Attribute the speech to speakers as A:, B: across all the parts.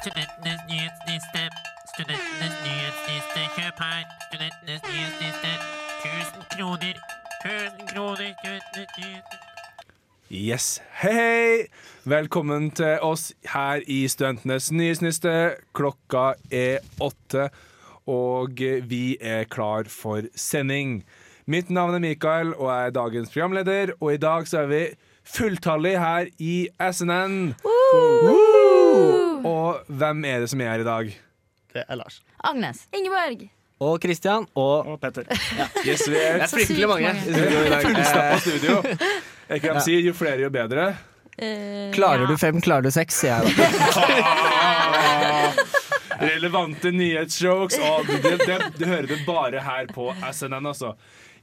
A: Studentenes nyhetsliste. Studentenes nyhetsliste. Kjøp her. Studentenes nyhetsliste. 1000 kroner. 1000 kroner. Studentenes nyhetsliste.
B: Yes. Hei, hei! Velkommen til oss her i Studentenes nyhetsniste. Klokka er åtte, og vi er klar for sending. Mitt navn er Mikael, og jeg er dagens programleder. Og i dag så er vi fulltallig her i SNN. Woo! Og hvem er det som er her i dag?
C: Det er Lars.
D: Agnes.
E: Ingeborg.
F: Og Christian og
C: Og Petter.
B: Yes, vi er
D: Så fryktelig sykt mange. mange.
F: i studio i dag.
B: fullstappa studio. Er ikke det de sier? Jo flere, jo bedre.
E: Eh,
F: Klarer
E: ja.
F: du fem, klarer du seks, sier jeg da.
B: Relevante nyhetsjokes. Og det, det, det hører du bare her på SNN, altså.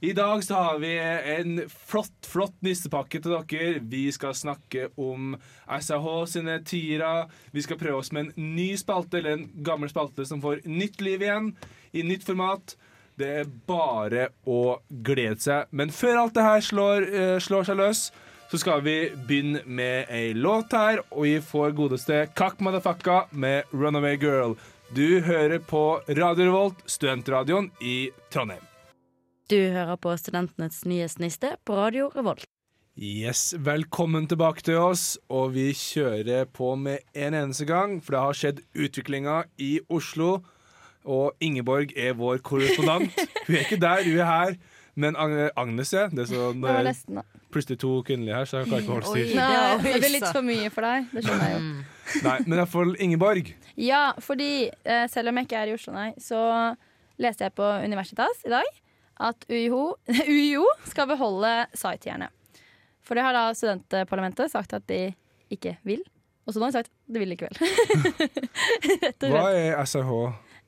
B: I dag så har vi en flott, flott nissepakke til dere. Vi skal snakke om SAH sine tiere. Vi skal prøve oss med en ny spalte, eller en gammel spalte som får nytt liv igjen. I nytt format. Det er bare å glede seg. Men før alt det her slår, eh, slår seg løs, så skal vi begynne med ei låt her. Og vi får godeste Kakk Madafakka med Runaway Girl. Du hører på Radio Revolt, studentradioen i Trondheim.
D: Du hører på Studentenes nyhetsniste på Radio Revolt.
B: Yes, velkommen tilbake til oss, og vi kjører på med en eneste gang, for det har skjedd utviklinga i Oslo, og Ingeborg er vår korrespondent. Hun er ikke der, hun er her, men Agne- Agnes er. Det er sånn,
E: Det var
B: eh,
E: nesten, da.
B: plutselig to kvinnelige her, så jeg klarer ikke å holde
D: Oi.
B: styr.
E: Nei, altså,
D: var
E: det blir litt
D: vissa.
E: for mye for deg. Det skjønner jeg jo.
B: Nei, men iallfall Ingeborg.
E: Ja, fordi eh, selv om jeg ikke er i Oslo, nei, så leste jeg på Universitas i dag at UiO, UiO skal beholde sci-tierne. For det har da studentparlamentet sagt at de ikke vil. Og så nå har de sagt at de vil likevel. Rett og slett.
B: Hva er SRH?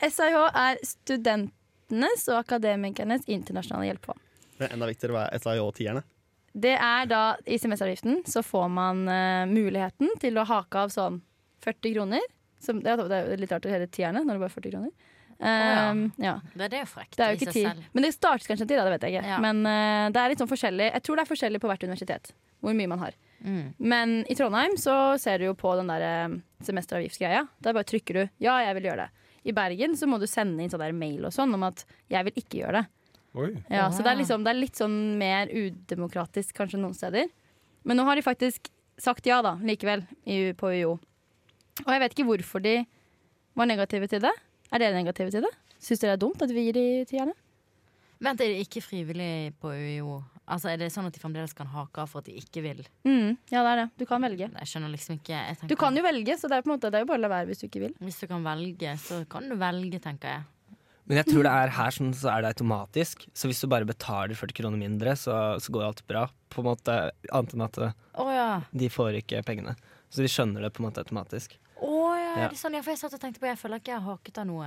E: SIH er studentenes og akademikernes internasjonale hjelpefond.
C: Men enda viktigere hva er SIH-tierne.
E: Det er da i semesteravgiften så får man eh, muligheten til å hake av sånn 40 kroner. Som, det er det er jo litt rart å hele tierne når det bare er 40 kroner. Ehm, ja.
D: Det, det er jo frekt
E: Det er
D: i
E: jo ikke
D: seg
E: ti.
D: selv.
E: Men det startes kanskje en tid, da, det vet jeg ikke.
D: Ja.
E: Men eh, det er litt sånn forskjellig. Jeg tror det er forskjellig på hvert universitet hvor mye man har.
D: Mm.
E: Men i Trondheim så ser du jo på den der eh, semesteravgiftsgreia. Der bare trykker du 'ja, jeg vil gjøre det'. I Bergen så må du sende inn sånn der mail og sånn om at 'jeg vil ikke gjøre det'.
B: Oi.
E: Ja,
D: Ah.
E: Så det er, liksom, det er litt sånn mer udemokratisk kanskje noen steder. Men nå har de faktisk sagt ja da, likevel, i, på UiO. Og jeg vet ikke hvorfor de var negative til det. Er dere negative til det? Syns dere det er dumt at vi gir de tierne?
D: Vent, er det ikke frivillig på UiO? Altså, Er det sånn at de fremdeles kan hake av for at de ikke vil?
E: Mm, ja, det er det. Du kan velge.
D: Jeg skjønner liksom ikke jeg tenker-
E: Du kan jo velge, så det er, på en måte, det er jo bare å la være hvis du ikke vil.
D: Hvis du kan velge, så kan du velge, tenker jeg.
F: Men jeg tror det er her sånn, så er det automatisk. Så hvis du bare betaler 40 kroner mindre, så, så går alt bra. På en måte, Annet enn at eh,
D: Å ja.
F: de får ikke pengene. Så de skjønner det på en måte automatisk.
D: Å ja,
F: Ja.
D: er det sånn? Ja, for jeg satt og tenkte på Jeg føler ikke jeg har haket av noe.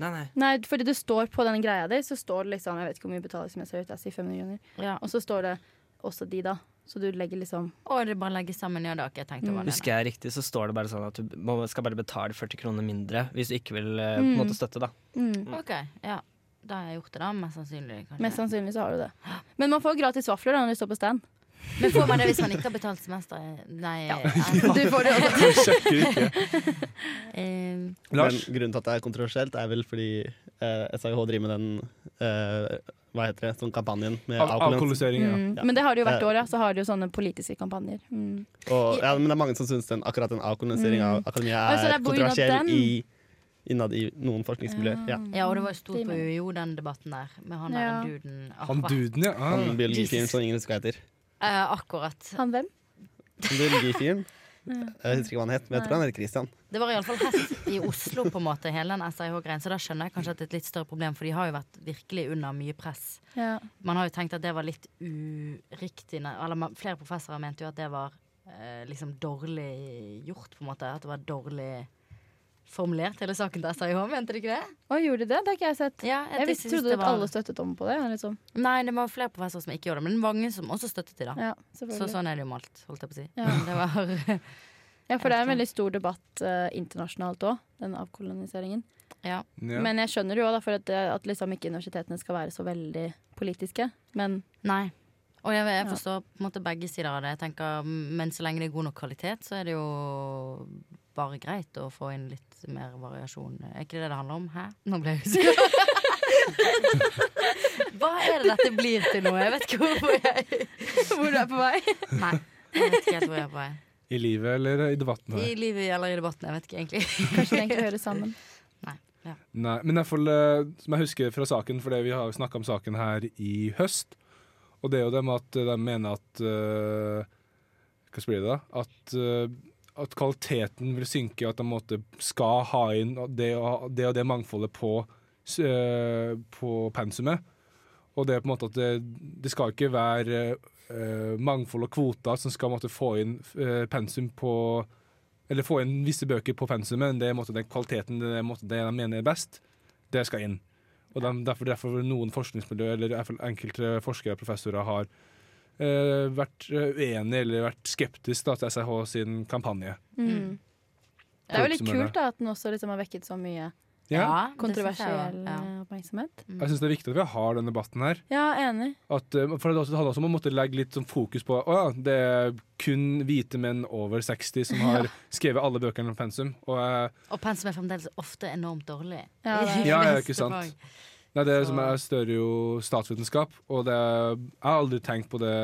F: Nei, nei.
E: Nei, fordi det står på den greia di, så står det liksom Jeg vet ikke hvor mye betaler som jeg ser ut, jeg sier 500 kroner.
D: Ja.
E: Og så står det også de, da. Så du legger liksom
D: Å, det er bare å legge sammen. Ja, det har ikke jeg tenkt over. det.
F: Husker Mm, jeg riktig, så står det bare sånn at du må, skal bare betale 40 kroner mindre hvis du ikke vil eh, på en måte støtte, da.
E: mm.
D: Ok, ja. Da har jeg gjort det, da. Mest sannsynlig. kanskje
E: Mest sannsynlig så har du det. Men man får gratis vafler da når du står på stand.
D: Men får man det hvis man ikke har betalt semester? Nei.
E: Ja.
D: eh,
E: Du får det også.
B: Sjekker ikke.
D: eh,
B: Lars?
C: Men grunnen til at det er kontroversielt, er vel fordi eh, SIH driver med den eh, Hva heter det? Sånn kampanjen med
B: Av-
C: alkolans.
B: Avkolonisering, ja.
E: Mm. Men det har det jo hvert år, ja. Så har de jo sånne politiske kampanjer. Mm.
C: Og, ja, men det er mange som syns den, akkurat den avkolonisering av akademia
E: Oi, så det
C: er
E: er på grunn av
C: kontroversiell
E: den?
C: i, innad i noen forskningsmiljøer. Ja.
D: ja, og det var jo stort
E: Det
D: på
E: mener
D: UiO, den debatten der. Med han
E: Mm, Ja.
D: der duden. Ah,
B: Han
D: hva-
B: duden, ja. Ah.
C: Han biologifyren
D: Jesus.
C: som ingen husker hva heter.
D: Eh, akkurat.
E: Han hvem?
C: Han Biologifyren. Jeg husker ikke hva han het, men jeg tror han heter Christian.
D: Det var iallfall hest i Oslo, på en måte, hele den SIH-greien. Så da skjønner jeg kanskje at det er et litt større problem, for de har jo vært virkelig under mye press.
E: Ja.
D: Man har jo tenkt at det var litt uriktig ne- Eller man, flere professorer mente jo at det var eh, liksom dårlig gjort, på en måte. At det var dårlig formulert, hele saken til SIH, mente de ikke det?
E: Å, gjorde de det? Det har ikke jeg sett.
D: Ja,
E: Jeg visste,
D: synes
E: trodde
D: det
E: at
D: var-
E: alle støttet om på det. ja, Liksom.
D: Nei, det var flere professorer som ikke gjorde det, men mange som også støttet det. da
E: Ja,
D: Så
E: selvfølgelig.
D: sånn er det jo med alt, holdt jeg på å si.
E: Ja.
D: Men Det var,
E: ja, for det er en veldig stor debatt eh, internasjonalt òg, den avkoloniseringen.
D: ja.
B: Ja.
E: Men jeg eh, skjønner jo òg, for at, det- at liksom ikke universitetene skal være så veldig politiske. Men
D: Nei. Og jeg, jeg
E: Ja.
D: forstår på en måte begge sider av det. Jeg tenker, Men så lenge det er god nok kvalitet, så er det jo bare greit å få inn litt mer variasjon. Er ikke det det handler om? Hæ? Nå ble jeg usikker. Hva er det dette blir til nå? Jeg vet ikke hvor jeg
E: Hvor du er på vei.
D: Nei. Jeg vet ikke helt hvor jeg er på vei.
B: I livet eller i debatten
D: I
B: her?
D: livet eller i debatten. Jeg vet ikke egentlig.
E: Kanskje det egentlig hører sammen.
D: Nei. Ja.
B: Nei, men i hvert fall, eh, som jeg husker fra saken, for det vi har snakka om saken her i høst, og det er jo det med at de mener at eh, Hva blir det, da? At, eh, at kvaliteten vil synke, at de på en måte skal ha inn det og det, og det mangfoldet på, s- eh, på pensumet. Og det er på en måte at det, det skal ikke være eh, mangfold og kvoter som skal på en måte, få inn eh, pensum på Eller få inn visse bøker på pensumet, men det er på en måte, den kvaliteten det, er, på en måte, det de mener er best, det skal inn. Og de, derfor, derfor vil noen forskningsmiljøer eller i hvert fall enkelte forskere og professorer har eh, vært eh, uenige eller vært skeptiske da, til SRH sin kampanje.
E: Mm. Det er jo litt
B: Oppsummerende.
E: kult da, at den også liksom har vekket så mye
B: Ja.
D: det synes jeg
E: kontroversiell
D: jo. Ja.
E: eh, oppmerksomhet.
B: Jeg syns det er viktig at vi har den debatten her.
E: Ja, enig.
B: At, eh, for det handler også om å måtte legge litt sånn fokus på Å ja, det er kun hvite menn over 60 som har skrevet alle bøkene om pensum. Og eh,
D: Og pensum er fremdeles ofte enormt dårlig.
E: Ja, det er-
D: I
B: Ja, ja,
D: neste
B: ikke sant.
D: fag.
B: Nei, det
D: Så-
B: som er større jo statsvitenskap, og det, jeg har aldri tenkt på det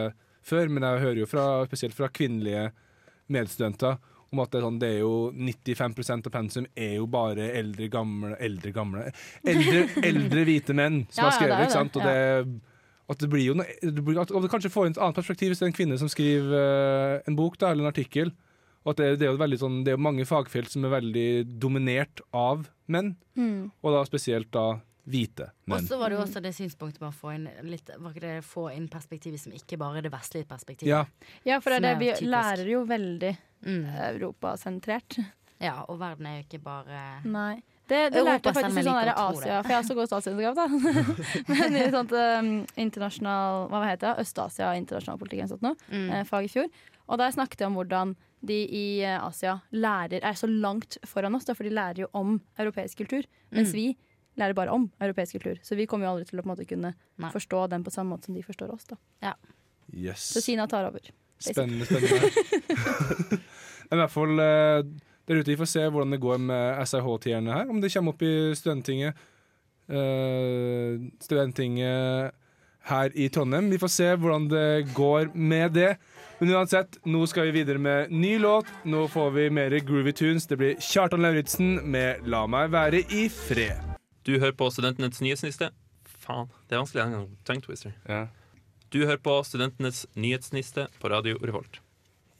B: før, men jeg hører jo fra, spesielt fra kvinnelige medstudenter om at det er, sånn, det er jo 95 av pensum er jo bare eldre, gamle Eldre, gamle Eldre, eldre hvite menn som har
E: Ja, ja, det
B: skrevet,
E: er jo
B: ikke sant?
E: det,
B: Og det, at det blir jo noe, det blir, at, og det kanskje får inn et annet perspektiv hvis det er en kvinne som skriver eh, en bok da, eller en artikkel. Og at det, det, er jo veldig sånn, det er jo mange fagfelt som er veldig dominert av menn,
E: Mm.
B: og da spesielt da hvite
D: Og
B: menn.
D: så var det jo også det synspunktet med å få inn, litt, var ikke det, få inn perspektivet som ikke bare er det vestlige perspektivet.
B: Ja,
E: Ja, for det er
D: Som
E: det.
D: er jo typisk.
E: Vi lærer jo veldig
D: Mm.
E: europasentrert.
D: ja, og verden er jo ikke bare
E: Nei. Det, det
D: Europa
E: lærte jeg
D: selv om
E: faktisk i
D: jeg
E: sånn
D: liker
E: der
D: å tro
E: Asia, for jeg har også gått statsvitenskap, da. Men i sånt um, internasjonal Hva heter det? Øst-Asia internasjonal politikk eller sånt noe. eh, Fag i fjor. Og der snakket jeg om hvordan de i eh, Asia lærer er så langt foran oss, da, for de lærer jo om europeisk kultur. Mens vi lærer bare om europeisk kultur. Så vi kommer jo aldri til å på en måte kunne
D: Nei.
E: forstå den på samme måte som de forstår oss. Da.
B: Yes.
E: Så Kina tar over.
B: Spennende, spennende. Men I hvert fall eh, der ute, vi får se hvordan det går med SRH-tierne her. Om det kommer opp i studenttinget eh, Studenttinget her i Trondheim. Vi får se hvordan det går med det. Men uansett, nå skal vi videre med ny låt. Nå får vi mer groovy tunes. Det blir Kjartan Lauritzen med 'La meg være i fred'.
G: Du hører på Studentenes nyhetsniste. Faen, det er vanskelig en gang. Tongue twister.
B: Ja.
G: Du hører på Studentenes nyhetsniste på Radio Revolt.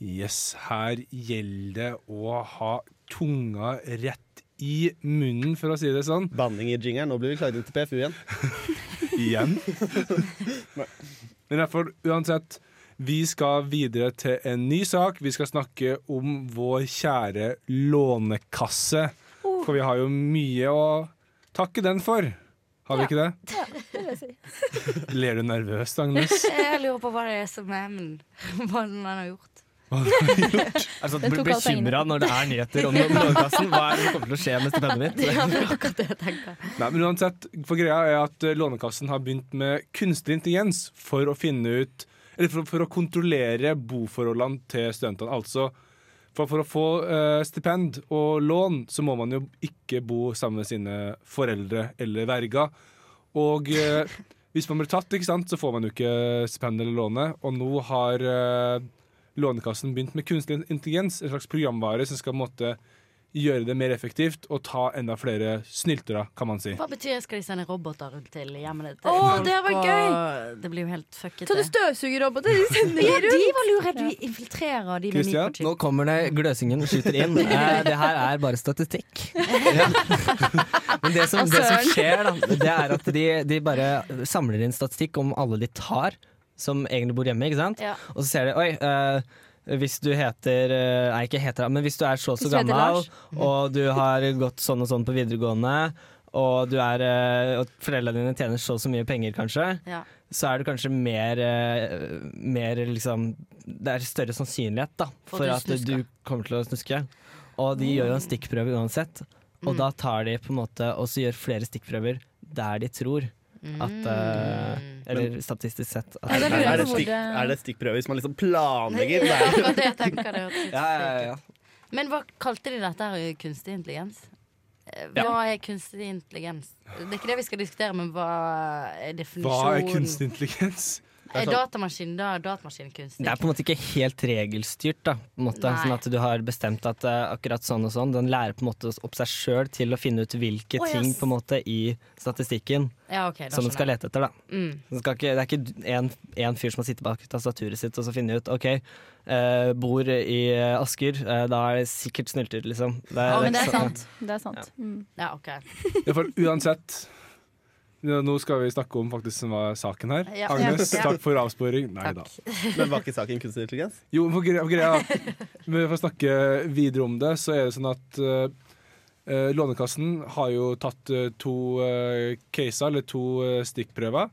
B: Yes, her gjelder det å ha tunga rett i munnen, for å si det sånn.
C: Banning i jingeren. Nå blir vi klaget inn til PFU igjen.
B: Igjen. Men i hvert fall, uansett, vi skal videre til en ny sak. Vi skal snakke om vår kjære lånekasse. For vi har jo mye å takke den for. Har vi ikke det? Ler du nervøst, Agnes?
D: Jeg lurer på hva det er som er, men hva den har gjort.
F: Altså,
E: Den tok
F: blir
E: alle pengene.
F: bekymra når det er nyheter om Lånekassen. Hva er det som kommer til å skje med stipendet mitt?
D: Det er akkurat det jeg tenker.
B: Nei, men uansett, for greia er at eh, Lånekassen har begynt med kunstig intelligens for å finne ut Eller for, for å kontrollere boforholdene til studentene. Altså for, for å få eh, stipend og lån, så må man jo ikke bo sammen med sine foreldre eller verger. Og eh, hvis man blir tatt, ikke sant, så får man jo ikke stipend eller lånet. Og nå har eh, Lånekassen begynt med kunstig intelligens, en slags programvare som skal på en måte gjøre det mer effektivt og ta enda flere snyltere, kan man si.
D: Hva betyr det? Skal de sende roboter rundt til hjemmene til
E: Åh,
D: folk,
E: det var
D: og-
E: gøy!
D: Det blir jo helt fucket.
E: Så du støvsugerroboter? De sender
D: ja,
E: de rundt!
D: de var lure. De infiltrerer de med
B: Christian,
D: mikrochip.
F: Nå kommer det gløsingen skyter inn. Eh, det her er bare statistikk. Ja. Men det som,
E: Å,
F: det som
E: søren.
F: skjer, da, det er at de, de bare samler inn statistikk om alle de tar som egentlig bor hjemme, ikke sant?
D: Ja.
F: Og så ser de Oi. eh, hvis du heter eh, Nei, ikke heter det, men hvis du er så og så
E: Hvis du heter
F: gammel,
E: Lars.
F: og du har gått sånn og sånn på videregående, og, du er, eh, og foreldrene dine tjener så og så mye penger, kanskje,
D: Ja.
F: så er det kanskje mer, eh, mer liksom, Det er større sannsynlighet da,
D: For
F: for
D: du
F: at du
D: snusker. Mm.
F: kommer til å snuske. Og de gjør jo en stikkprøve uansett. Og da tar de på en måte Og så gjør flere stikkprøver der de tror
D: Mm.
F: At, eh, eller statistisk sett. At,
E: Ja, det lurer
C: Er
E: jeg
C: det,
E: på hvor
C: stikk, er det
E: det
C: stikkprøve hvis man liksom planlegger?
D: Ja,
C: Nei.
D: det var det jeg tenker det hørtes ut
F: ja, ja, ja.
D: som. Men hva kalte de dette her kunstig intelligens? Eh, Hva er kunstig intelligens? Det er ikke det vi skal diskutere, men hva er definisjonen?
B: Hva er kunstig Altså- intelligens?
D: Er datamaskin da datamaskin kunstig?
F: Det er på en måte ikke helt regelstyrt, da, på en måte.
D: Nei.
F: sånn at du har bestemt at eh, akkurat sånn og sånn. Den lærer på en måte opp seg sjøl til å finne ut hvilke
D: Å, ja,
F: ting
D: s-
F: på en måte i statistikken
D: Ja, ok, da
F: som den skal
D: skjønner jeg.
F: lete etter. da.
D: Mm.
F: Den skal ikke, det er ikke en, en fyr som har sittet bak tastaturet sitt og så finner ut OK, eh, bor i eh, Asker, eh, da er det sikkert snylter, liksom. Det,
D: Ja,
E: Men
F: ikke
E: det er
F: sånn, ja.
E: sant. Det er sant. Mm.
D: Ja, ok.
B: Iallfall uansett. Ja, nå skal vi snakke om faktisk som var saken her.
D: Ja.
B: Agnes,
D: Ja.
B: takk for avsporing. Nei da.
D: Takk.
C: Men var ikke saken kunstig intelligens?
B: Jo, for greia, for greia Men For å snakke videre om det, så er det sånn at eh, eh, Lånekassen har jo tatt eh, to uh, caser, eller to eh, stikkprøver.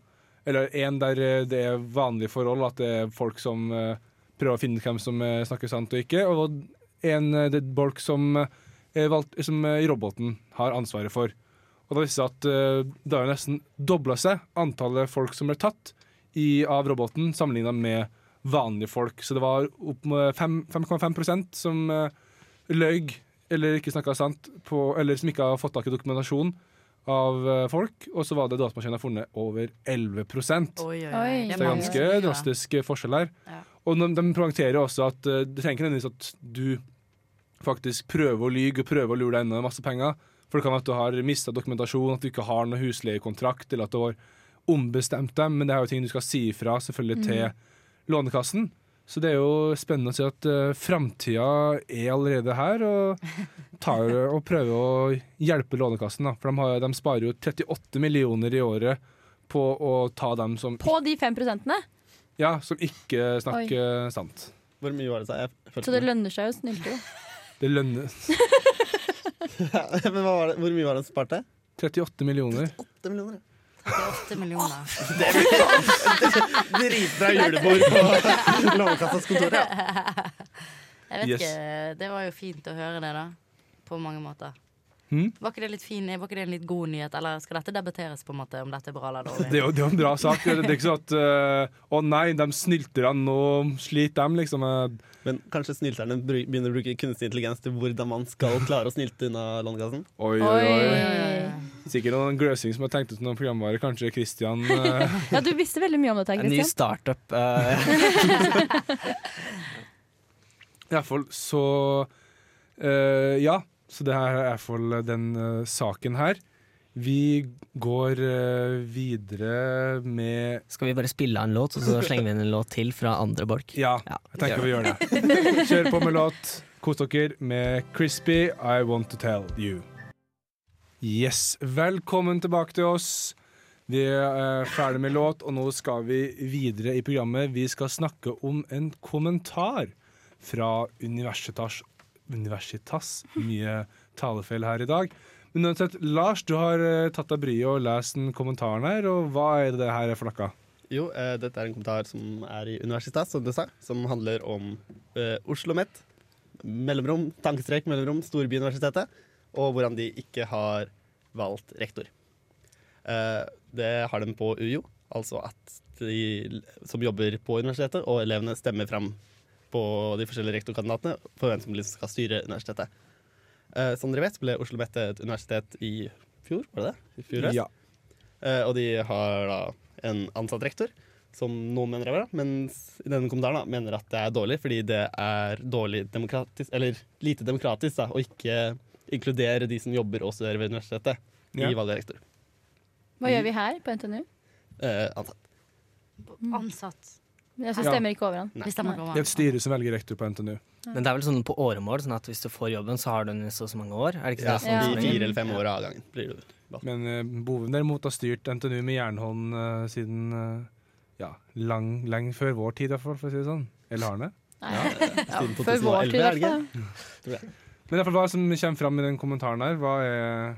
B: Eller én der eh, det er vanlige forhold, at det er folk som eh, prøver å finne ut hvem som eh, snakker sant og ikke. Og en eh, det er folk som, eh, er valgt, som eh, roboten har ansvaret for. Og da viste det seg at eh, det har jo nesten dobla seg, antallet folk som ble tatt i, av roboten, sammenligna med vanlige folk. Så det var opp med fem- 5,5 som eh, løy eller ikke snakka sant, på, eller som ikke har fått tak i dokumentasjon av eh, folk. Og så var det datamaskinen har funnet over 11 Så
D: Oi, oi, oi.
E: Oi.
B: det er
D: mange
B: ganske
D: som- ja.
B: drastisk eh, forskjell her.
D: Ja.
B: Og de, de poengterer også at eh, det trenger ikke nødvendigvis at du faktisk prøver å lyge og prøver å lure deg unna masse penger. For det kan være at du har mista dokumentasjon, at du ikke har noen husleiekontrakt, eller at du har ombestemt dem, men det er jo ting du skal si ifra selvfølgelig til Lånekassen. Så det er jo spennende å se at uh, framtida er allerede her, og, tar, jo- og prøver å hjelpe Lånekassen. Da. For de, har, de sparer jo 38 millioner i året på å ta dem som,
E: På de fem prosentene.
B: ja, som ikke snakker sant.
C: Hvor mye var det? sa jeg? Jeg følte
E: Så det
C: ikke
E: lønner seg jo å snylte jo.
B: Det lønner
C: med. Men hva var det? Hvor mye var det han sparte?
B: 38 millioner.
C: 8 millioner.
D: Det er åtte millioner.
C: Dritbra julebord på Lånekassas kontor. Ja.
D: Jeg vet
B: Yes.
D: ikke, Det var jo fint å høre det, da. På mange måter.
B: Hmm?
D: Var ikke det litt fin, var ikke det en litt god nyhet, eller skal dette debatteres, på en måte, om dette er bra eller
B: Det er
D: dårlig?
B: jo det er jo en bra sak. Det er ikke sånn at eh, Å nei, de snylterne, nå sliter dem, liksom. eh.
C: Men kanskje snylterne bru- begynner å bruke kunstig intelligens til hvordan man skal klare å snylte unna Lånekassen?
B: Oi, oi, oi. Sikkert noen gløsing som har tenkt ut noen programvare. Kanskje Christian eh,
E: Ja, du visste veldig mye om dette,
F: liksom En ny
E: Kristian.
F: startup. eh,
B: I hvert fall så eh, Ja, så det her er i hvert fall den eh, saken her. Vi går eh, videre med
F: skal vi bare spille av en låt, og så slenger vi inn en låt til fra andre bolk?
B: Ja, jeg tenker vi gjør det. Kjør på med låt. Kos dere med Crispy I Want To Tell You. Yes, velkommen tilbake til oss. Vi er eh, ferdig med låt, og nå skal vi videre i programmet. Vi skal snakke om en kommentar fra Universitas Universitas. Mye talefeil her i dag. Men uansett, Lars, du har eh, tatt deg bryet og lest den kommentaren her, og hva er det her er for noe?
C: Jo, eh, dette er en kommentar som er i Universitas, som du sa, som handler om eh, Oslo Met, mellomrom, tankestrek, mellomrom, Storbyuniversitetet, og hvordan de ikke har valgt rektor. Eh, det har de på UiO, altså at de som jobber på universitetet, og elevene stemmer fram på de forskjellige rektorkandidatene for hvem som liksom skal styre universitetet. Eh, som dere vet, ble Oslo Met et universitet i fjor, var det det? I fjor, høst. Eh, og de har da en ansatt rektor, som noen mener er bra, mens i denne kommentaren da, mener at det er dårlig, fordi det er dårlig demokratisk, eller lite demokratisk da, å ikke inkludere de som jobber og studerer ved universitetet
B: Ja.
C: i valg av rektor.
E: Hva gjør vi her på NTNU?
C: Eh, ansatt.
D: Ansatt.
E: Jeg synes
B: Ja.
E: stemmer ikke over han.
D: Hvis det er mange
B: Det er et
D: ganger.
B: styre som velger rektor på NTNU.
F: Men det er vel sånn på åremål, sånn at hvis du får jobben, så har du den i så og så mange år? Er det ikke
C: Ja,
F: det som
C: sånn I
E: Ja.
C: fire eller fem år av gangen blir det. valgt.
B: Men eh, Boven derimot har styrt NTNU med jernhånd eh, siden eh, ja, lang, lenge før vår tid, i hvert fall, for å si det sånn. Eller har han det?
C: Siden
E: Før vår tid, i
C: 2011, er det
E: hvert
C: ikke?
E: fall.
B: Men i hvert fall hva som kommer fram i den kommentaren her, hva er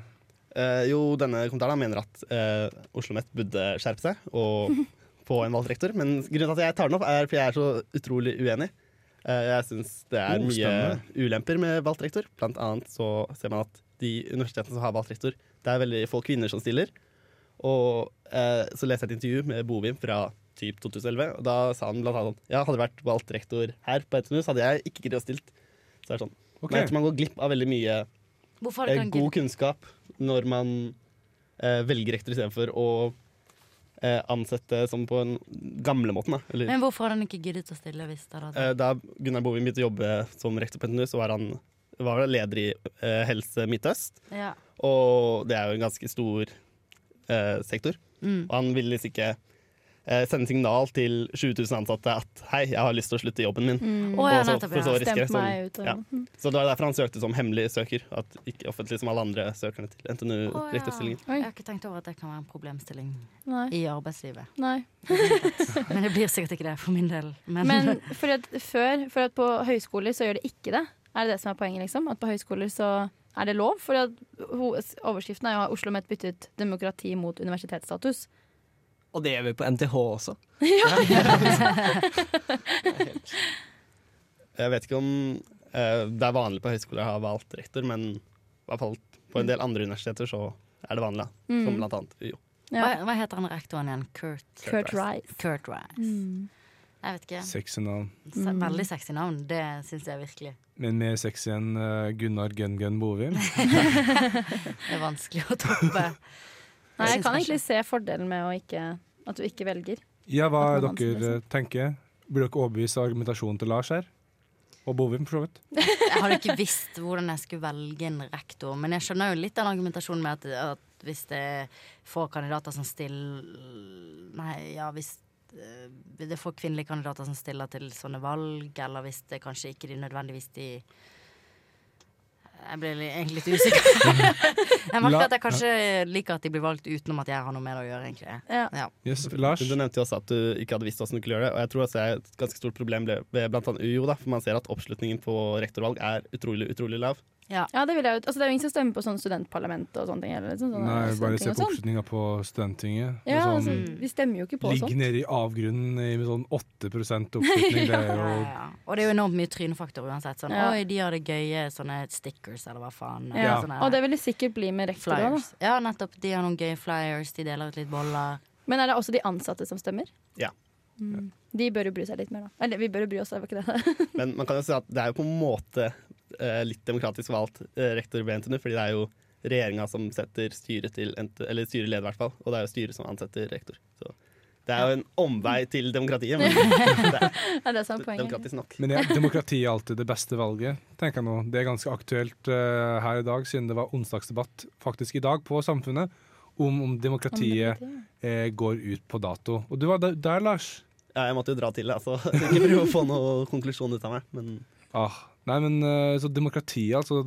C: Eh, jo, denne kommentaren mener at uh, Oslo Met burde skjerpe seg og få en valgt rektor. Men grunnen til at jeg tar den opp, er fordi jeg er så utrolig uenig. Eh, jeg syns det er
B: Oh,
C: mye
B: spennende.
C: ulemper med valgt rektor. Blant annet så ser man at de universitetene som har valgt rektor, det er veldig få kvinner som stiller. Og eh, så leste jeg et intervju med Bovim fra typ 2011, og da sa han blant annet sånn Ja, hadde jeg vært valgt rektor her på NTNU, så hadde jeg ikke giddet å stilt. Så er det sånn.
B: Ok.
C: Men jeg tror man går glipp av veldig mye
D: Hvorfor
C: eh,
D: har du
C: god
D: ikke
C: kunnskap når man eh, velger rektor istedenfor å eh, ansette som på en gamlemåten, da. Eller,
D: Men hvorfor har han ikke giddet å stille hvis det hadde
C: Eh, Da Gunnar Bovim begynte å jobbe som rektor på NTNU, så var han var han leder i eh, Helse Midtøst.
D: ja.
C: Og det er jo en ganske stor eh, sektor.
D: Mm.
C: Og han ville liksom ikke eh, sende signal til 20 000 ansatte at hei, jeg har lyst til å slutte i jobben
D: Å
C: min.
D: ja,
C: Og så-
D: nettopp.
C: for så
D: Ja.
C: risker jeg
E: Stemp
C: sånn-
E: meg ut. Og,
C: ja. Så det var derfor han søkte som hemmelig søker, at ikke offentlig som alle andre søkerne til
D: Å, ja.
C: NTNU-rektorstillinger.
E: Oi.
D: Jeg har ikke tenkt over at det kan være en problemstilling
E: Nei.
D: i arbeidslivet.
E: Nei.
D: Men det blir sikkert ikke det for min del. Men,
E: Men fordi at før, for at på høyskoler så gjør det ikke det. Er det det som er poenget? liksom? At på høyskoler så er det lov? For at ho- overskriften er jo at Oslo Met byttet demokrati mot universitetsstatus.
F: Og det gjør vi på NTH også.
C: Jeg vet ikke om eh, det er vanlig på høyskoler å ha valgt rektor, men i hvert fall på en del andre universiteter så er det vanlig. da.
E: Mm.
C: Som blant annet UiO.
E: Ja.
D: hva, hva heter han rektoren igjen? Ah, Kurt
E: Kurt Rice. Mm.
D: Kurt Rice. Jeg vet ikke.
B: Sexy navn.
D: Se- Veldig sexy navn. Det syns jeg virkelig.
B: Men mer sexy enn eh, Gunnar Gun Gun Bovim.
D: Det er vanskelig å toppe.
E: Nei,
D: Jeg syns
E: jeg kan
D: kanskje-
E: egentlig se fordelen med å ikke, at du ikke velger.
B: Ja, hva
E: At man
B: dere
E: anser det
B: eh, tenker? Blir dere overbevist av argumentasjonen til Lars her? Og Bovim, for så vidt.
D: Jeg hadde ikke visst hvordan jeg skulle velge en rektor, men jeg skjønner jo litt den argumentasjonen med at, at hvis det er få kandidater som stiller Nei, ja, hvis eh, det er få kvinnelige kandidater som stiller til sånne valg, eller hvis det kanskje ikke de nødvendigvis de Jeg blir li- egentlig litt usikker. jeg merker
B: La-
D: at jeg kanskje liker at de blir valgt utenom at jeg har noe med det å gjøre, egentlig.
E: Ja.
D: Ja.
B: Yes, Lars?
C: Du nevnte jo også at du ikke hadde visst hvordan du kunne gjøre det. Og jeg tror også det er et ganske stort problem ble- ved blant annet UiO, da, for man ser at oppslutningen på rektorvalg er utrolig, utrolig lav.
E: Ja, Det vil jeg jo, altså det er jo ingen som stemmer på sånn studentparlament og sånne ting. Eller, sånn, sånne
B: Nei, bare se på
E: studentting og sånn.
B: oppslutninga på Studenttinget. Det
E: Ja,
B: er
E: altså,
B: sånn,
E: vi stemmer jo ikke på sånn.
B: ligger
E: sånt.
B: nede i avgrunnen i sånn 8 oppslutning. Det er
D: Ja,
B: jo
D: ja. Og det er jo enormt mye trynefaktor uansett. Sånn,
E: Ja.
D: Oi, de har det gøye, sånne stickers eller hva faen.
E: Ja.
D: Sånne-
E: Og det vil det sikkert bli med rektor òg, da.
D: Flyers. Ja, nettopp. De har noen gøye flyers. De deler ut litt boller.
E: Men er det også de ansatte som stemmer?
C: Ja.
E: Mm. De bør jo bry seg litt mer, da. Eller vi bør jo bry oss, det var ikke det.
C: Men man kan jo si at det er jo på en måte eh, litt demokratisk valgt eh, rektor ved NTNU, fordi det er jo regjeringa som setter styret til NTNU, eller styreleder i hvert fall, og det er jo styret som ansetter rektor. Så det er jo en omvei til demokratiet, men det er
E: Det er det som er poenget.
C: demokratisk nok.
B: Men ja, demokrati er alltid det beste valget, tenker jeg nå. Det er ganske aktuelt eh, her i dag, siden det var onsdagsdebatt faktisk i dag på Samfunnet, om, om demokratiet eh, går ut på dato. Og du var der, der Lars.
C: Ja, jeg måtte jo dra til det, altså. Ikke prøve å få noen konklusjon ut av meg, men
B: Ah, nei, men eh, så demokratiet, altså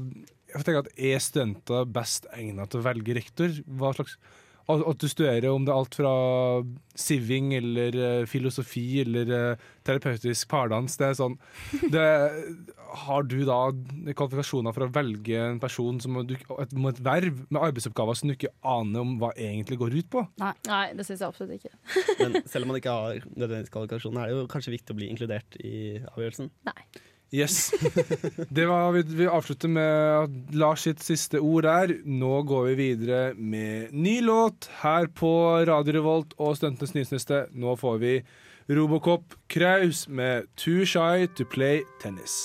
B: Jeg tenker at Er studenter best egnet til å velge rektor? Hva slags At at du studerer om det er alt fra siving eller eh, filosofi eller eh, terapeutisk pardans Det er sånn det, Har du da kvalifikasjoner for å velge en person som du, et, med et verv med arbeidsoppgaver som du ikke aner om hva egentlig går ut på?
E: Nei, det syns jeg absolutt ikke.
C: Men selv om man ikke har nødvendigvis kvalifikasjoner, er det jo kanskje viktig å bli inkludert i avgjørelsen.
E: Nei.
B: Yes. Det var, vi, vi avslutter med Lars sitt siste ord der. Nå går vi videre med ny låt her på Radio Revolt og Studentenes nyhetsniste. Nå får vi Robocop Kraus med Too Shy To Play Tennis.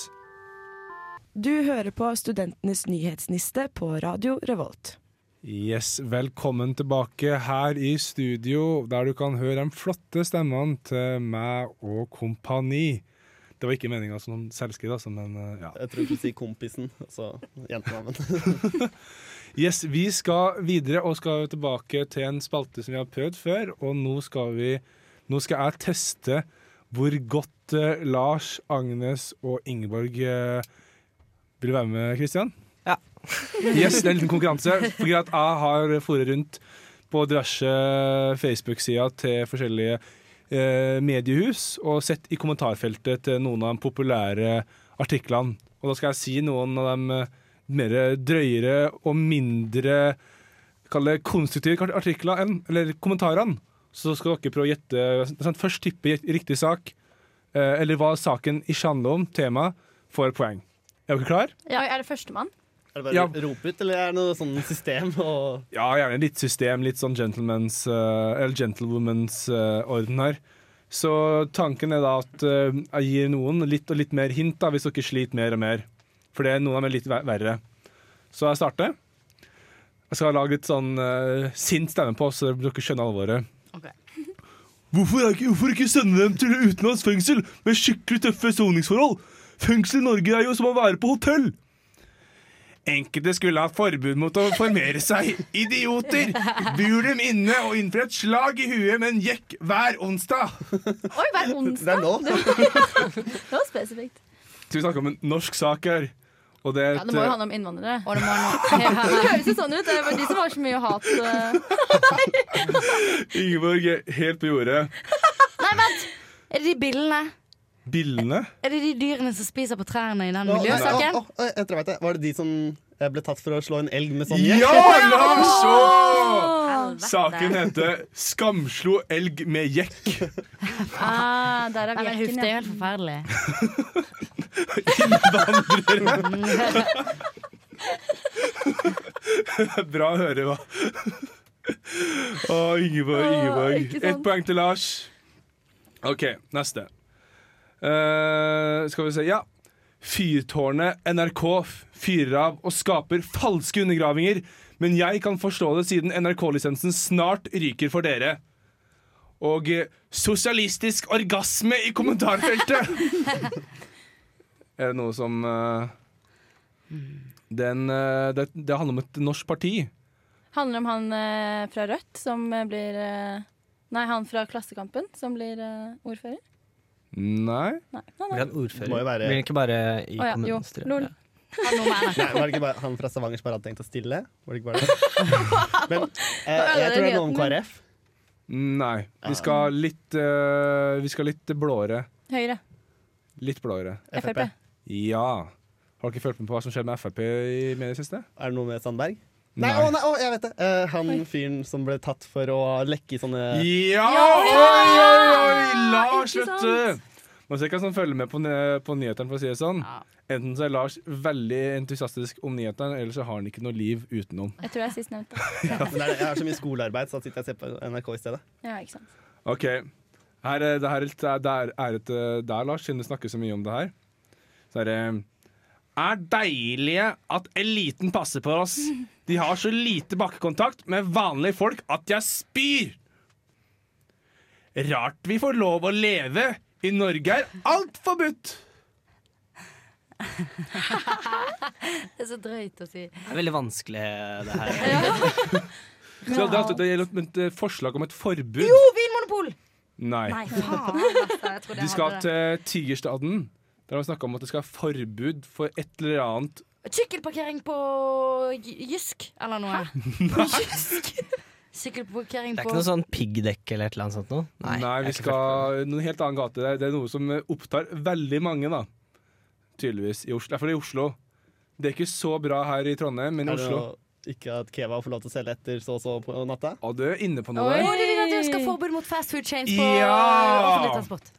H: Du hører på Studentenes nyhetsniste på Radio Revolt.
B: Yes, velkommen tilbake her i studio, der du kan høre de flotte stemmene til meg og kompani. Det var ikke meninga som selvskriv, altså, men eh, ja.
C: Jeg tror du skulle si kompisen, altså og så jentenavnet.
B: Yes, Vi skal videre og skal tilbake til en spalte som vi har prøvd før. Og nå skal, vi, nå skal jeg teste hvor godt eh, Lars, Agnes og Ingeborg eh, vil du være med, Kristian?
F: Ja.
B: yes, det er en liten konkurranse. Fordi at jeg har foret rundt på diverse Facebook-sider til forskjellige eh, mediehus og sett i kommentarfeltet til noen av de populære artiklene. Og da skal jeg si noen av de eh, mer drøyere og mindre kall det konstruktive artikler enn, eller kommentarene. Så skal dere prøve å gjette sånn, Først tippe gjet- riktig sak, eh, eller hva saken ikke handler om, tema, får poeng. Er dere klar?
E: Oi, er det førstemann?
C: Er det bare
B: Ja.
C: å rope ut, eller er det noe sånn system og
B: Ja, gjerne litt system, litt sånn gentleman's eh, Eller gentlewoman's eh, orden her. Så tanken er da at eh, jeg gir noen litt og litt mer hint da, hvis dere sliter mer og mer. For det er noen av dem er litt ver- verre. Så jeg starter. Jeg skal lage litt sånn eh, sint stemme på, så dere skjønner alvoret.
D: Ok.
B: Hvorfor, er ikke, hvorfor ikke sende dem til utenlandsfengsel med skikkelig tøffe soningsforhold? Fengsel i Norge er jo som å være på hotell! Enkelte skulle ha forbud mot å formere seg. Idioter! Bur dem inne og innfri et slag i huet med en jekk hver onsdag.
E: Oi, hver
C: Det er
E: onsdag!
C: nå.
E: Det var spesifikt.
B: Skal vi snakke om en norsk sak her? Og det er et,
E: Ja,
B: eh,
E: det må jo handle om innvandrere.
D: Og det må nå
E: Det høres jo sånn ut. Det var de som har så mye hat. eh.
B: eh, Ingeborg er helt på jordet.
D: Er det de billene?
B: Billene?
D: Er det de dyrene som spiser på trærne i den
C: Å, nei,
D: miljøsaken?
C: å, å, jeg tror jeg vet det. Var det de som eh, ble tatt for å slå en elg med sånn
B: Ja, la oss se!
D: Helvete.
B: Saken heter 'Skamslo elg med jekk'.
E: Ah, der er
D: Nei, men huff,
E: bjerken,
D: det er jo
E: ja.
D: helt forferdelig.
B: Bra å høre, hva? Å, Ingeborg,
E: Å,
B: Ingeborg.
E: ikke sant?
B: Ett poeng til Lars. OK, neste. Eh, skal vi se Ja. Fyrtårnet NRK fyrer av og skaper falske undergravinger, men jeg kan forstå det siden NRK-lisensen snart ryker for dere. Og eh, sosialistisk orgasme i kommentarfeltet! er det noe som eh, den, eh, det, det handler om et norsk parti.
E: Handler om han eh, fra Rødt som eh, blir eh, Nei, han fra Klassekampen som blir eh, ordfører.
B: Nei.
E: Nei, nei,
F: Vi
E: nei.
F: kan ordfører.
C: Må jo være-
F: Blir det ikke bare i
E: Å ja, jo.
F: kommunestyret?
E: Lol.
F: Ja.
D: Har noe med
C: Nei, var det ikke bare han fra Stavanger som bare hadde tenkt å stille? Var det ikke bare det? Men eh, jeg tror det er noe om KrF.
B: Nei. Vi skal litt, eh, vi skal litt blåere.
E: Høyre.
B: Litt blåere.
E: Frp.
B: Ja. Har dere fulgt med på hva som skjedde med Frp i med det siste?
C: Er det noe med Sandberg? Nei, Å, nei å, jeg vet det! Eh, han fyren som ble tatt for å lekke i sånne
B: Ja!
E: Ja,
B: Oi, oi, oi! Lars,
E: ikke
B: vet du! Man ser ikke han som følger med på, ny- på nyhetene, for å si det sånn.
D: Ja.
B: Enten så er Lars veldig entusiastisk om nyhetene, eller så har han ikke noe liv utenom.
E: Jeg tror jeg er sistnevnte.
C: ja, men det er, Jeg har så mye skolearbeid, så da sitter jeg og ser på NRK i stedet.
E: Ja, ikke sant.
B: OK. Her, er- det her er litt det er ære til deg, Lars, siden du snakker så mye om det her. Så er det eh, Er deilige at eliten passer på oss. De har så lite bakkekontakt med vanlige folk at jeg spyr! Rart vi får lov å leve. I Norge er alt forbudt!
D: Det er så drøyt å si.
F: Det er veldig vanskelig, det her.
B: Så det, er altså- det gjelder et et forslag om et forbud.
D: Jo, Vinmonopol!
B: Nei.
D: Nei, faen. altså, Jeg trodde
B: De
D: jeg
B: skal
D: hadde det.
B: til Tigerstaden. Der har vi snakka om at det skal være forbud for et eller annet
D: Sykkelparkering på J- Jysk eller noe. Sykkelparkering
F: Det er
D: på
F: ikke noe sånn piggdekk eller et eller annet sånt noe?
B: Nei,
F: jeg
B: vi
F: har ikke følt
B: skal noen helt annen gate. Det er- Det er noe som eh, opptar veldig mange, da. Tydeligvis. I Oslo. Nei, for det er i Oslo. Det er ikke så bra her i Trondheim, men i
C: Er det
B: Oslo
C: noe, ikke at Keva får lov til å selge etter så og så på natta?
B: Å, du er inne på noe
E: Oi.
B: der.
D: Å, du vil at du skal ha forbud mot fast food chains på eh,
B: Ja!
D: offentlig transport?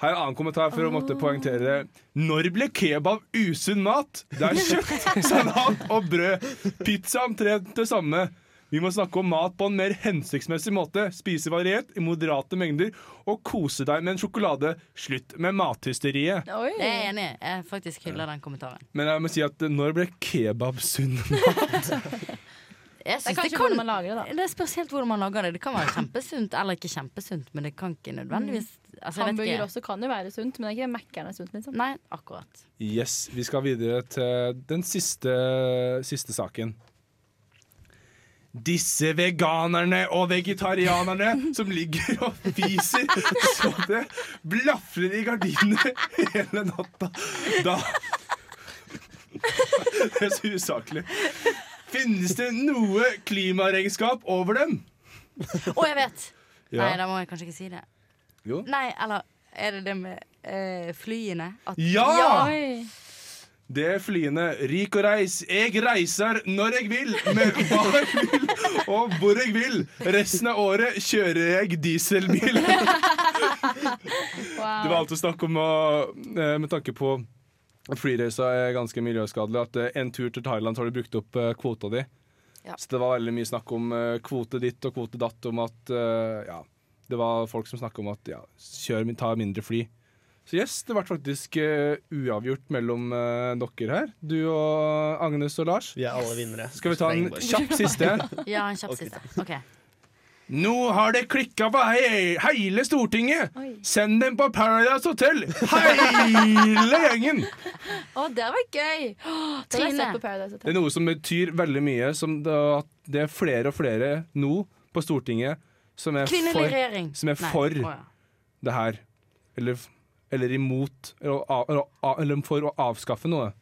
B: Her er en annen kommentar for å måtte poengtere det. Når ble kebab usunn mat? Det er kjøtt, salat og brød. Pizza omtrent det samme. Vi må snakke om mat på en mer hensiktsmessig måte. Spise variert i moderate mengder og kose deg med en sjokolade. Slutt med mathysteriet.
E: Oi.
D: Det er jeg enig i. Jeg faktisk hyller den kommentaren.
B: Men jeg må si at eh, når ble kebab sunn
D: Jeg
E: Det er
D: synes det,
E: kanskje
D: kan,
E: hvordan man lager det, da.
D: det er spesielt hvordan man lager det. Det kan være kjempesunt eller ikke kjempesunt, men det kan ikke nødvendigvis altså, jeg vet
E: Hamburger
D: ikke.
E: også kan jo være sunt, men det er ikke Mækkern er sunt, liksom.
D: Nei, akkurat.
B: Yes, vi skal videre til den siste, siste saken. Disse veganerne og vegetarianerne som ligger og fiser så det blafrer i gardinene hele natta. Da Det er så usaklig. Finnes det noe klimaregnskap over dem?
D: Å, jeg vet! Nei, da må jeg kanskje ikke si det.
B: Jo.
D: Nei, eller er det det med eh, flyene? At,
B: Ja!
E: Oi.
B: Det er flyene Rik og reis. Jeg reiser når jeg vil, med hva jeg vil og hvor jeg vil. Resten av året kjører jeg dieselbil. Det var
E: Wow.
B: alt å snakke om å, eh, med tanke på Freerace er ganske miljøskadelig. At eh, en tur til Thailand så har du brukt opp eh, kvota di.
D: Ja.
B: Så det var veldig mye snakk om eh, kvote ditt og kvote datt, om at eh, ja Det var folk som snakka om at ja, kjør, min- ta mindre fly. Så yes, det ble faktisk eh, uavgjort mellom eh, dere her. Du og Agnes og Lars.
C: Vi er alle vinnere.
B: Skal vi ta en
C: Steinborg.
B: kjapp siste?
D: Ja, en kjapp
C: Ok.
D: siste. OK.
B: Nå har det klikka på hei, hele Stortinget! Send dem på Paradise Hotel! Hele gjengen!
E: Å, det var gøy! Åh, det har jeg
D: Trine.
E: sett på Paradise
B: Det
E: Hotel.
B: er noe som betyr veldig mye. Som det, at det er flere og flere nå på Stortinget som er
D: Kvinnelig
B: for
D: regjering.
B: som er
D: Nei,
B: for.
D: å ja.
B: det her. Eller, eller imot. Eller, å- eller, å- eller for å avskaffe noe.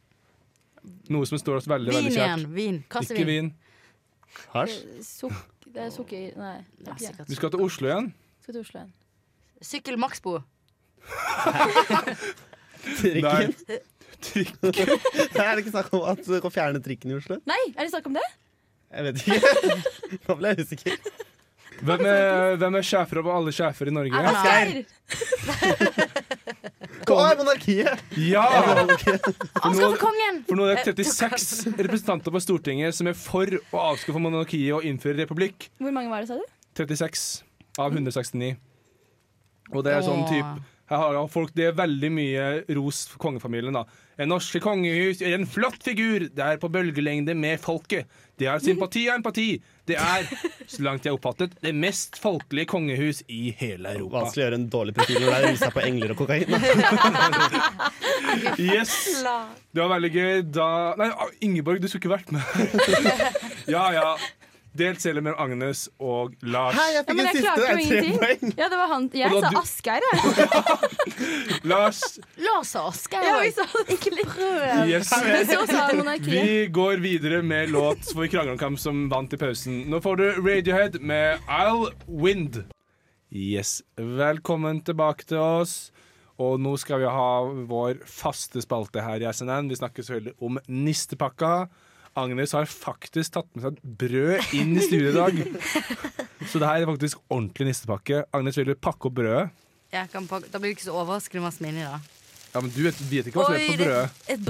B: Noe som står oss veldig
D: Vin
B: veldig
D: igjen.
B: kjært.
D: Vin. Kaste
B: Ikke
D: vin.
B: vin.
C: Hasj.
E: Suk det er sukker... Nei. det
D: Ja,
E: er ikke det.
D: sikkert.
B: Du skal til Oslo igjen.
E: Skal til Oslo igjen.
D: Sykkel Maxbo.
C: Trikken.
B: Der. Trykk.
C: Er det ikke snakk om at du kan fjerne trikken i Oslo?
E: Nei, er det snakk om det?
C: Jeg vet ikke. Nå ble jeg usikker.
B: Hvem er, hvem er sjefer over alle sjefer i Norge?
D: Erna.
E: Geir!
C: Hva
D: Ah.
C: er monarkiet?
B: Ja!
D: Avskaffe kongen!
B: For nå er det 36 representanter på Stortinget som er for å avskaffe monarkiet og innføre republikk.
E: Hvor mange var det, sa du?
B: 36 av 169. Og det er sånn
D: Åh.
B: type her har jeg folk, Det er veldig mye ros for kongefamilien. da. En norske kongehus er en flott figur. Det er på bølgelengde med folket. Det har sympati og empati. Det er, så langt jeg har oppfattet, det mest folkelige kongehus i hele Europa.
C: Vanskelig å gjøre en dårlig profil når det er rusa på engler og kokain. da.
B: Yes! Det var veldig gøy. Da Nei, Ingeborg, du skulle ikke vært med. ja, ja. Delt selv med Agnes og Lars.
C: Hei, jeg
E: Ja,
C: fikk
E: men
C: en
E: jeg
C: siste.
E: klarte
C: Det
E: jo
C: er tre poeng.
E: ingenting. Ja, det var han.
B: Og
E: Jeg
B: da
E: sa
B: du-
E: Asgeir, jeg.
B: Lars,
D: Lars og Asgeir.
E: Ja, vi
D: også.
E: sa ikke litt prøv.
B: yes.
E: Men så sa han monarkiet.
B: Vi går videre med låt hvor vi krangler om hvem som vant i pausen. Nå får du Radiohead med I'll Wind. Yes. Velkommen tilbake til oss. Og nå skal vi ha vår faste spalte her i SNN. Vi snakker selvfølgelig om nistepakka. Agnes har faktisk tatt med seg et brød inn i studio i dag. Så det her er faktisk ordentlig nistepakke. Agnes, vil du pakke opp brødet?
D: Jeg kan pakke- Da blir det ikke så overraskende hva som er inni, da.
B: Ja, men Du vet, vet ikke hva som er på
D: det
B: brødet.
D: et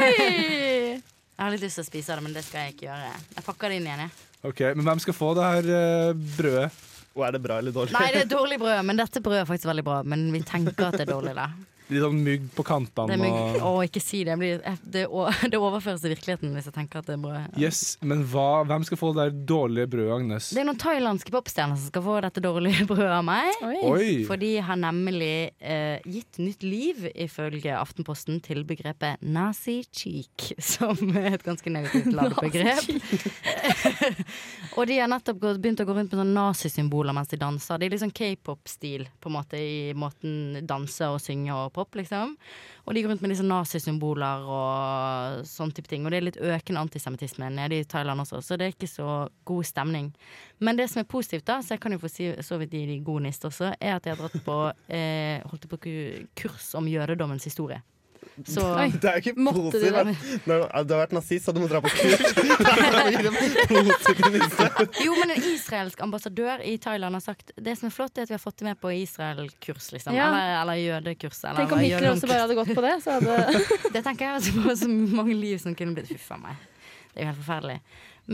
D: brød!
E: Oi!
D: Jeg har litt lyst til å spise det, men det skal jeg ikke gjøre. Jeg pakker det inn igjen, jeg.
B: Ok, Men hvem skal få det her eh, brødet?
C: Og er det bra eller dårlig?
D: Nei, det er dårlig brød, men dette brødet er faktisk veldig bra. Men vi tenker at det er dårlig, da.
B: Litt sånn mugg på
D: Det
B: kantene
D: er mye-
B: og
D: Å, ikke si det. Jeg blir, jeg- det, å- det overføres til virkeligheten hvis jeg tenker at det er brød.
B: Yes, men hva, hvem skal få det der dårlige brødet, Agnes?
D: Det er noen thailandske popstjerner som skal få dette dårlige brødet av meg.
E: Oi.
B: Oi!
D: Fordi har nemlig eh, gitt nytt liv, ifølge Aftenposten, til begrepet nazi cheek. Som er et ganske negativt ladet begrep. Og de har nettopp gått, begynt å gå rundt med sånne nazisymboler mens de danser. Det er litt sånn k-pop-stil på en måte i måten danse og synge og pop, liksom. Og de går rundt med disse nazisymboler og sånn type ting. Og det er litt økende antisemittisme nede i Thailand også, så det er ikke så god stemning. Men det som er positivt, da, så jeg kan jo få si så vidt i de gode nist også, er at jeg har dratt på, eh, holdt på ku- kurs om jødedommens historie. Så
C: Det er jo ikke
D: Måtte du
C: positivt.
D: det?
C: men- Nei, Du har vært nazist, så du må dra på kurs. Positivt.
D: Jo, men en israelsk ambassadør i Thailand har sagt Det som er flott, er at vi har fått det med på Israel-kurs, liksom.
E: Ja.
D: Eller, eller jødekurs. Eller,
E: Tenk om Hitler også bare hadde gått på det, så hadde
D: Det tenker jeg altså på så mange liv som kunne blitt Huff a meg. Det er jo helt forferdelig.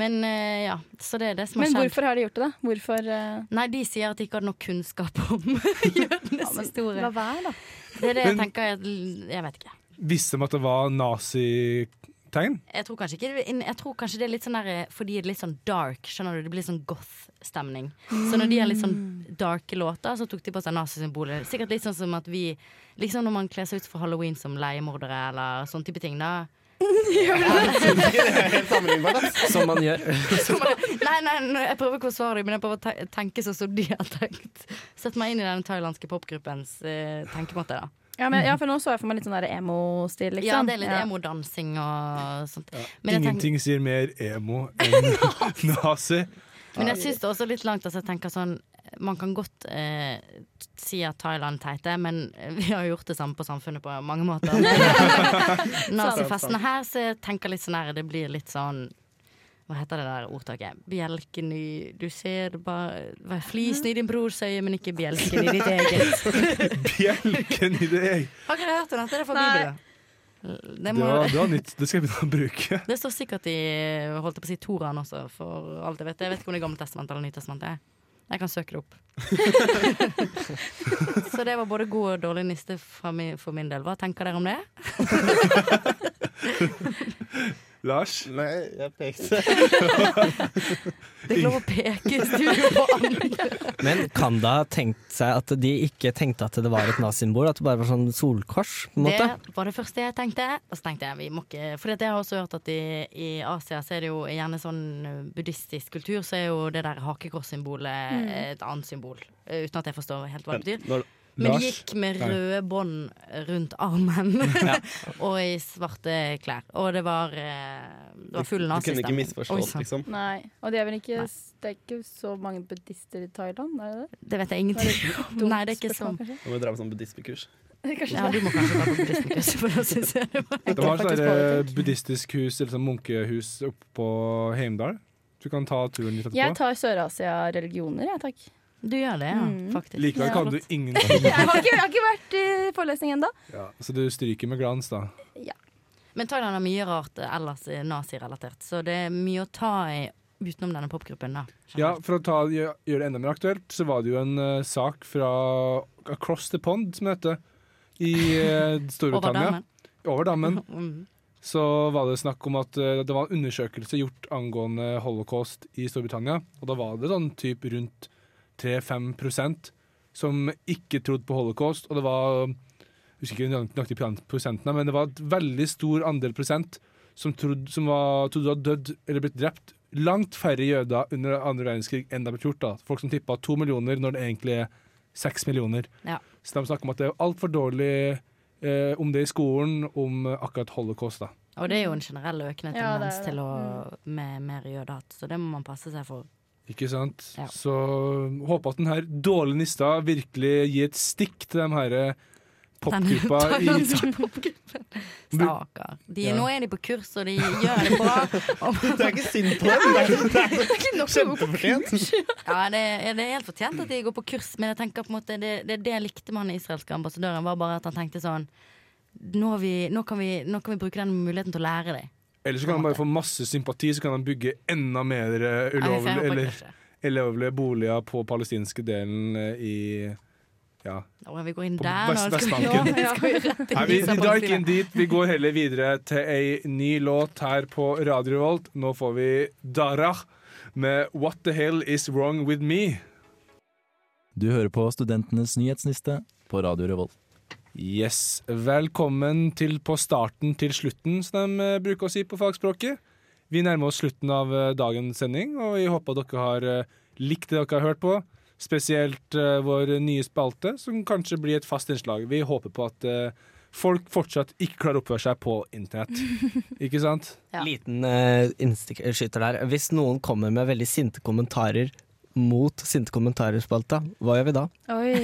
D: Men eh, ja, så det er det som har
E: Men
D: skjedd.
E: hvorfor har de gjort det, da? Hvorfor eh,
D: Nei, de sier at de ikke hadde nok kunnskap om jødenes historie.
E: være, da.
D: Det er det jeg
B: Men-
D: tenker jeg, jeg vet ikke.
B: Visste de at det var nazitegn?
D: Jeg tror kanskje ikke det- Jeg tror kanskje det er litt sånn der eh, fordi det er litt sånn dark, skjønner du. Det blir litt sånn goth-stemning. Så når de har litt sånn darke låter, så tok de på seg nazisymboler. Sikkert litt sånn som at vi Liksom når man kler seg ut for halloween som leiemordere eller sånn type ting, da.
F: Som man gjør.
D: Så bare- Nei, nei, nei, jeg prøver ikke å svare deg, men jeg prøver å te- tenke sånn som de har tenkt. Sett meg inn i den thailandske popgruppens eh, tenkemåte, da.
E: Ja, men, ja, for nå så jeg for meg litt sånn der emo-stil, liksom.
D: Ja, det er litt emo-dansing og sånt. Men jeg, tenker,
B: Ingenting sier mer emo enn nazi.
D: men jeg syns det er også litt langt, altså. Jeg tenker sånn man kan godt eh, si at Thailand er teite, men eh, vi har jo gjort det samme på samfunnet på mange måter. Nazifestene her, så jeg tenker litt sånn her, det blir litt sånn hva heter det der ordtaket? Bjelken i Du ser det bare hva, Flisen i din brors øye, men ikke bjelken i ditt eget.
B: Bjelken i det jeg
D: Har ikke dere hørt om dette? Det er fra
E: Nei.
D: Bibelen. Det,
B: Det
D: må,
B: var, det var nytt. Det skal jeg begynne å bruke.
D: det står sikkert i holdt jeg på å si, Toraen også, for alt jeg vet. Jeg vet ikke om det er Gamle testament eller Nytestamentet. Jeg kan søke det opp. Så det var både god og dårlig niste fra mi- for min del. Hva tenker dere om det?
B: Lars?
C: Nei, jeg pekte.
D: Det er ikke lov å peke i studio på andre.
F: Men kan det ha tenkt seg at de ikke tenkte at det var et nazisymbol? At det bare var sånn solkors? på en måte?
D: Det var det første jeg tenkte. Og så tenkte jeg vi må ikke For jeg har også hørt at i, i Asia så er det jo gjerne sånn eh, buddhistisk kultur, så er jo det der hakekorssymbolet et annet symbol. eh, Uten at jeg forstår helt hva det betyr.
C: Når,
D: Men
B: Lars?
D: de gikk med
B: Nei.
D: røde bånd rundt armen og i svarte klær. Og det var, eh, det var full
C: du kunne ikke
D: nazistemning. Oi,
C: misforstått,
D: sann.
C: liksom.
E: Nei. Og det er vel ikke,
D: Nei.
E: det er ikke så mange buddhister i Thailand? Er det det?
D: Det vet jeg
E: Var det
D: ingenting om.
E: dumt
D: Nei, det er ikke
E: spørsmål,
D: sånn.
E: kanskje?
C: Nå må vi dra på sånn buddhismekurs.
E: Kanskje
D: Ja, du må kanskje dra på buddhistkurs, for da syns jeg det var
B: Det var sånn, eh,
E: faktisk
B: et sånt
E: politisk.
B: buddhistisk hus, eller sånn munkehus, oppe på Heimdal. Du kan ta turen litt
E: Jeg
B: etterpå.
E: tar Sør-Asia-religioner, jeg, takk.
D: Du gjør det, ja,
E: Mm.
D: faktisk.
B: Likevel
E: Ja.
B: kan du ingenting.
E: Jeg har ikke, jeg har ikke vært i forelesning ennå.
B: Ja, så du stryker med glans, da.
D: Men Thailand har mye rart eh, ellers eh, nazirelatert, så det er mye å ta i utenom denne popgruppen. da.
B: Ja, For å ta, gjø- gjøre det enda mer aktuelt, så var det jo en eh, sak fra Across the Pond, som det heter, i eh,
D: Over
B: Storbritannia.
D: dammen.
B: Over dammen.
D: Mm.
B: Så var det snakk om at eh, det var en undersøkelse gjort angående holocaust i Storbritannia. Og da var det sånn typ rundt 3-5 prosent som ikke trodde på holocaust. Og det var jeg husker ikke nøyaktig- nøyaktig prosent- prosentene, men det var et veldig stor andel prosent som trodde, som var, trodde var dødd eller blitt drept. Langt færre jøder under andre verdenskrig enn det ble gjort. da. Folk som tippa to millioner når det egentlig er seks millioner.
D: Ja.
B: Så de snakker om at det er altfor dårlig eh, om det i skolen, om eh, akkurat holocaust. da.
D: Og det er jo en generell økende
E: Ja, det
D: tendens
E: er det. Mm.
D: til å med mer jødehat, så det må man passe seg for.
B: Ikke sant?
D: Ja.
B: Så håper at den her dårlige nista virkelig gir et stikk til de her eh, popgruppa i
D: Denne thailandske popgruppen. Stakkar. De,
B: Ja.
D: Nå er de på kurs, og de gjør det bra.
C: Du er ikke synd på dem! Det er- det er Kjempefortjent!
D: Ja, det, er- det er helt fortjent at de går på kurs, men jeg tenker på en måte det, det, det jeg likte med han israelske ambassadøren, var bare at han tenkte sånn nå, har vi, nå, kan vi, nå kan vi bruke den muligheten til å lære deg.
B: Eller så kan de bare få masse sympati, så kan de bygge enda mer eh,
D: Ja, vi
B: ulovlige,
D: får håpe
B: eller,
D: kanskje.
B: ulovlige boliger på palestinske delen eh, i ja.
D: Å, vi går inn
B: På
D: der nå.
B: Vest-
D: Skal vi, ja,
B: Vestbanken.
D: skal vi rett inn
B: Nei, vi,
D: i
B: vi drar ikke inn
D: Palestina?
B: dit. Vi går heller videre til ei ny låt her på Radio Revolt. Nå får vi Darah med 'What The Hell Is Wrong With Me'.
I: Du hører på Studentenes nyhetsniste på Radio Revolt.
B: Yes. Velkommen til på starten til slutten, som de eh, bruker å si på fagspråket. Vi nærmer oss slutten av eh, dagens sending, og vi håper dere har eh, likt det dere har hørt på. Spesielt eh, vår nye spalte, som kanskje blir et fast innslag. Vi håper på at eh, folk fortsatt ikke klarer å oppføre seg på internett. Ikke sant?
D: Ja.
F: Liten eh, innskyter der. Hvis noen kommer med veldig sinte kommentarer mot sinte kommentarer-spalta, hva gjør vi da?
E: Oi.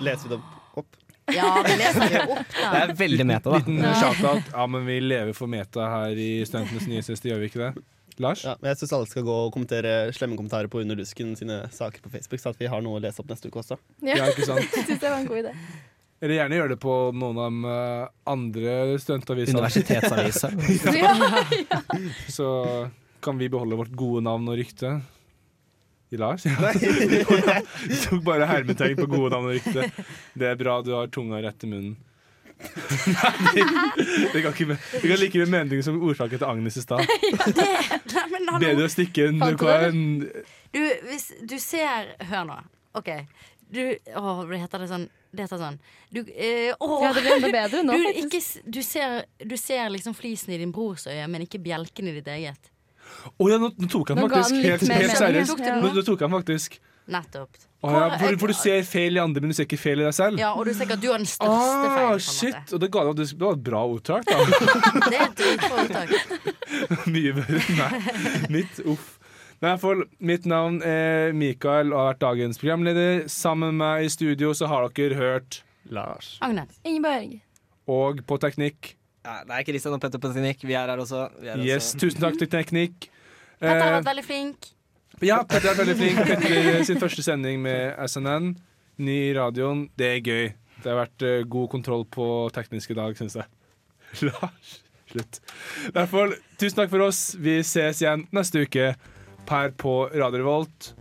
C: Leser vi dem opp?
D: Ja, vi leser det opp,
F: Det
D: da.
F: er veldig meta, da.
B: Liten shout-out. Ja, men vi lever for meta her i Studentenes nye siste, gjør vi ikke det? Lars?
C: Ja, men jeg syns alle skal gå og kommentere slemme kommentarer på Under Lusken sine saker på Facebook, så at vi har noe å lese opp neste uke også.
E: Ja,
B: ja
E: jeg
B: ikke sant?
E: syns det var en god idé.
B: Eller gjerne gjør det på noen av de eh, andre studentavisene,
F: Universitetsavisa.
E: Ja.
B: så kan vi beholde vårt gode navn og rykte. I Lars? Du tok bare hermetegn på gode navn og rykte. Det er bra du har tunga rett i munnen. Nei, det kan ikke Det kan like mye mening som ordtaket til Agnes i stad.
D: Nei, men hallo.
B: Bedre å stikke enn
E: Fant du
B: hva
E: det?
B: enn-
D: Du, hvis du ser Hør nå. OK. Du Å, det heter det sånn Det heter sånn Du eh, Å!
E: Ja, det blir enda bedre nå,
D: du,
E: faktisk.
D: ikke, s- du, ser, du ser liksom flisen i din brors øye, men ikke bjelken i ditt eget.
B: Å ja, nå, nå tok han
E: Nå ga
B: faktisk.
E: den litt
B: Helt,
E: mer
B: helt
E: mening, ja.
B: seriøst.
E: Ja.
B: Nå, nå tok han faktisk.
D: Nettopp.
B: Å, ja, for, for du ser feil i andre, men du ser ikke feil i deg selv?
D: Ja, og du ser ikke at du har den største
B: Ah,
D: feilen. på en
B: shit! Og det, ga, det var et bra ordtak, da.
D: måte. Det er et dritbra uttak.
B: Mye bedre enn meg. Mitt, uff. Nei, for mitt navn er Mikael og har vært dagens programleder. Sammen med meg i studio så har dere hørt,
C: Lars.
D: Agnes.
E: Ingeborg.
B: og på teknikk
F: Ja, det er Kristian og Petter på Teknikk. Vi er her også. Vi er
B: Yes,
F: også.
B: tusen takk til teknikk.
D: Petter har
B: Eh,
D: vært veldig flink.
B: ja, Petter er veldig flink. Petter sin første sending med SNN. Ny i radioen. Det er gøy. Det har vært eh, god kontroll på teknisk i dag, syns jeg. Lars. Slutt. Derfor, tusen takk for oss. Vi ses igjen neste uke her på Radio Revolt.